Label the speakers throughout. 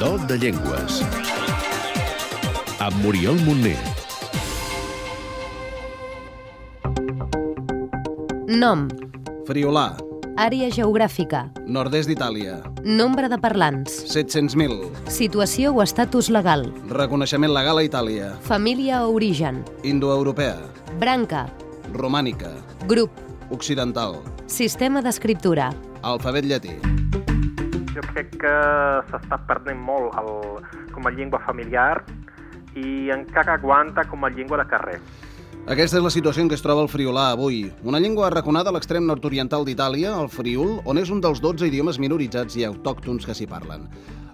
Speaker 1: Do de Llengües. Amb Muriel Montner.
Speaker 2: Nom,
Speaker 3: Friolà,
Speaker 2: àrea geogràfica,
Speaker 3: nord-est d'Itàlia,
Speaker 2: nombre de parlants,
Speaker 3: 700.000.
Speaker 2: situació o estatus legal,
Speaker 3: Reconeixement legal a Itàlia,
Speaker 2: família o origen,
Speaker 3: indoeuropea,
Speaker 2: branca,
Speaker 3: romànica,
Speaker 2: grup,
Speaker 3: occidental,
Speaker 2: sistema d'escriptura,
Speaker 3: alfabet llatí.
Speaker 4: Jo crec que s'està perdent molt el, com a llengua familiar i encara aguanta com a llengua de carrer.
Speaker 3: Aquesta és la situació en què es troba el friolà avui. Una llengua arraconada a l'extrem nord-oriental d'Itàlia, el friül, on és un dels 12 idiomes minoritzats i autòctons que s'hi parlen.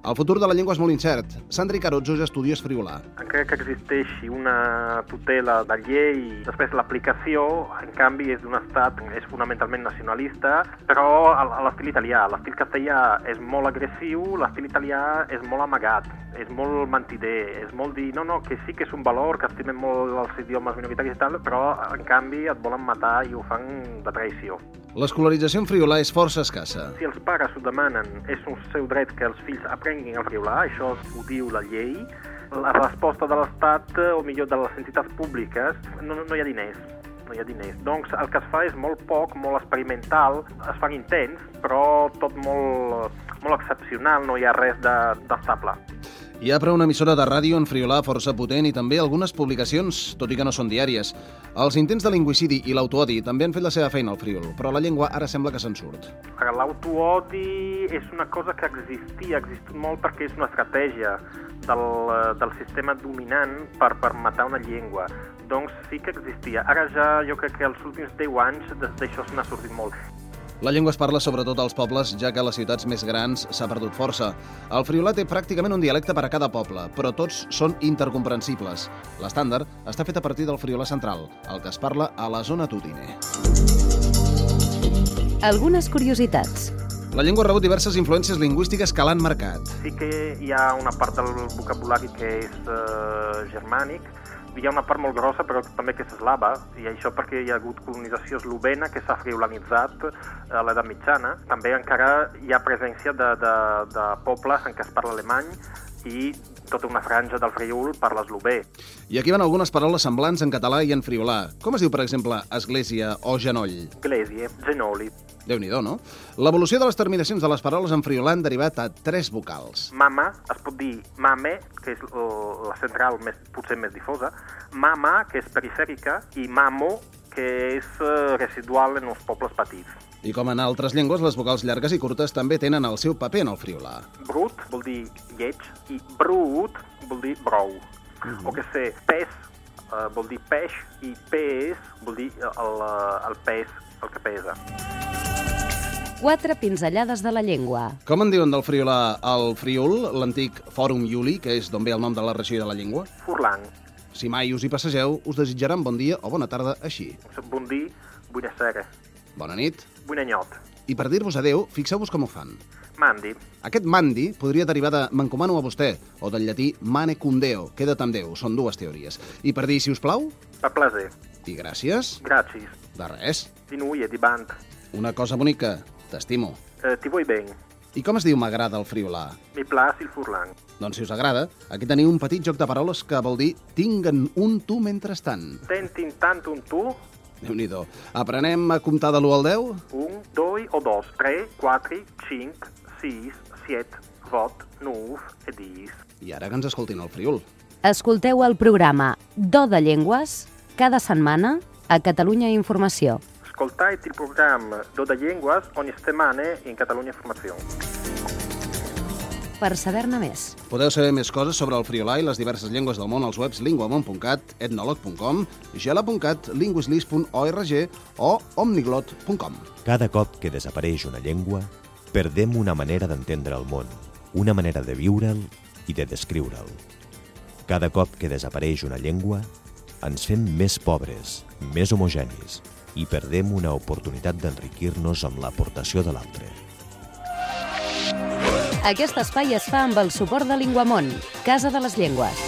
Speaker 3: El futur de la llengua és molt incert. Sandri Carozzo és estudiós friolà.
Speaker 4: Encara que existeixi una tutela de llei, després l'aplicació, en canvi, és d'un estat, és fonamentalment nacionalista, però a a l'estil italià. L'estil castellà és molt agressiu, l'estil italià és molt amagat, és molt mentider, és molt dir, no, no, que sí que és un valor, que estimen molt els idiomes minoritaris i tal, però, en canvi, et volen matar i ho fan de traïció.
Speaker 3: L'escolarització en friolà és força escassa.
Speaker 4: Si els pares ho demanen, és un seu dret que els fills aprenguin el riolà, això ho diu la llei. La resposta de l'Estat, eh, o millor de les entitats públiques, no, no hi ha diners no hi ha diners. Doncs el que es fa és molt poc, molt experimental, es fan intents, però tot molt, molt excepcional, no hi ha res de- d'estable. De,
Speaker 3: Hi ha però una emissora de ràdio en friolà força potent i també algunes publicacions, tot i que no són diàries. Els intents de linguicidi i l'autoodi també han fet la seva feina al friol, però la llengua ara sembla que se'n surt.
Speaker 4: L'autoodi és una cosa que existia, ha existit molt perquè és una estratègia del, eh, del sistema dominant per, per matar una llengua. Doncs sí que existia. Ara ja jo crec que els últims 10 anys des d'això se n'ha sortit molt.
Speaker 3: La llengua es parla sobretot als pobles, ja que a les ciutats més grans s'ha perdut força. El friolà té pràcticament un dialecte per a cada poble, però tots són intercomprensibles. L'estàndard està fet a partir del friolà central, el que es parla a la zona Tutine.
Speaker 2: algunes curiositats.
Speaker 3: La llengua ha rebut diverses influències lingüístiques que l'han marcat.
Speaker 4: Sí que hi ha una part del vocabulari que és eh, germànic, hi ha una part molt grossa però també que és eslava, i això perquè hi ha hagut colonització eslovena que s'ha friolanitzat a l'edat mitjana. També encara hi ha presència de, de, de pobles en què es parla alemany i tota una franja del friül per l'eslové.
Speaker 3: I aquí van algunes paraules semblants en català i en friolà. Com es diu, per exemple, església o genoll?
Speaker 4: Glesie, genoli,
Speaker 3: déu nhi no? L'evolució de les terminacions de les paraules en friolà han derivat a tres vocals.
Speaker 4: Mama, es pot dir mame, que és l- la central més, potser més difosa, mama, que és perifèrica, i mamo, que és eh, residual en els pobles petits.
Speaker 3: I com en altres llengües, les vocals llargues i curtes també tenen el seu paper en el friolà.
Speaker 4: Brut vol dir lleig, i brut vol dir brou. O que sé, pes eh, vol dir peix, i pes vol dir eh, el, eh, el pes, el que pesa.
Speaker 2: Quatre pinzellades de la llengua.
Speaker 3: Com en diuen del friolà al friul, l'antic Fòrum Iuli, que és d'on ve el nom de la regió i de la llengua?
Speaker 4: Furlang,
Speaker 3: Si mai us hi passegeu, us desitjaran bon dia o bona tarda així.
Speaker 4: bon dir, buena serra,
Speaker 3: Bona nit.
Speaker 4: buena nyot,
Speaker 3: I per dir-vos adeu, fixeu-vos com ho fan.
Speaker 4: mandi,
Speaker 3: Aquest mandi podria derivar de m'encomano a vostè, o del llatí mane cum deo, queda amb Déu, són dues teories. I per dir si us plau,
Speaker 4: per plaser,
Speaker 3: i gràcies,
Speaker 4: gracis,
Speaker 3: de res,
Speaker 4: dinuia, dibant,
Speaker 3: una cosa bonica, t'estimo.
Speaker 4: eh, ti vuoi ben,
Speaker 3: I com es diu m'agrada el friolà?
Speaker 4: mi placi el furlang.
Speaker 3: Doncs si us agrada, aquí teniu un petit joc de paraules que vol dir tinguen un tu mentrestant.
Speaker 4: Tentin tant un tu,
Speaker 3: déu nhi Aprenem a comptar de l'1 al 10?
Speaker 4: un, doi o dos, tre, quatri, cinc, sis, set, vot, nuf e dis.
Speaker 3: I ara que ens escoltin el friol.
Speaker 2: Escolteu el programa Do de Llengües cada setmana a Catalunya Informació.
Speaker 4: Ascoltate il programma Doda Lenguas ogni settimana in Catalogna Informazione.
Speaker 2: Per saber-ne més,
Speaker 3: Podeu saber més coses sobre el friolà i les diverses llengües del món als webs linguamont.cat, etnolog.com, gela.cat, linguislis.org o omniglot.com.
Speaker 5: Cada cop que desapareix una llengua, perdem una manera d'entendre el món, una manera de viure'l i de descriure'l. Cada cop que desapareix una llengua, ens fem més pobres, més homogenis i perdem una oportunitat d'enriquir-nos amb l'aportació de l'altre.
Speaker 2: aquest espai es fa amb el suport de Linguamont, Casa de les Llengües.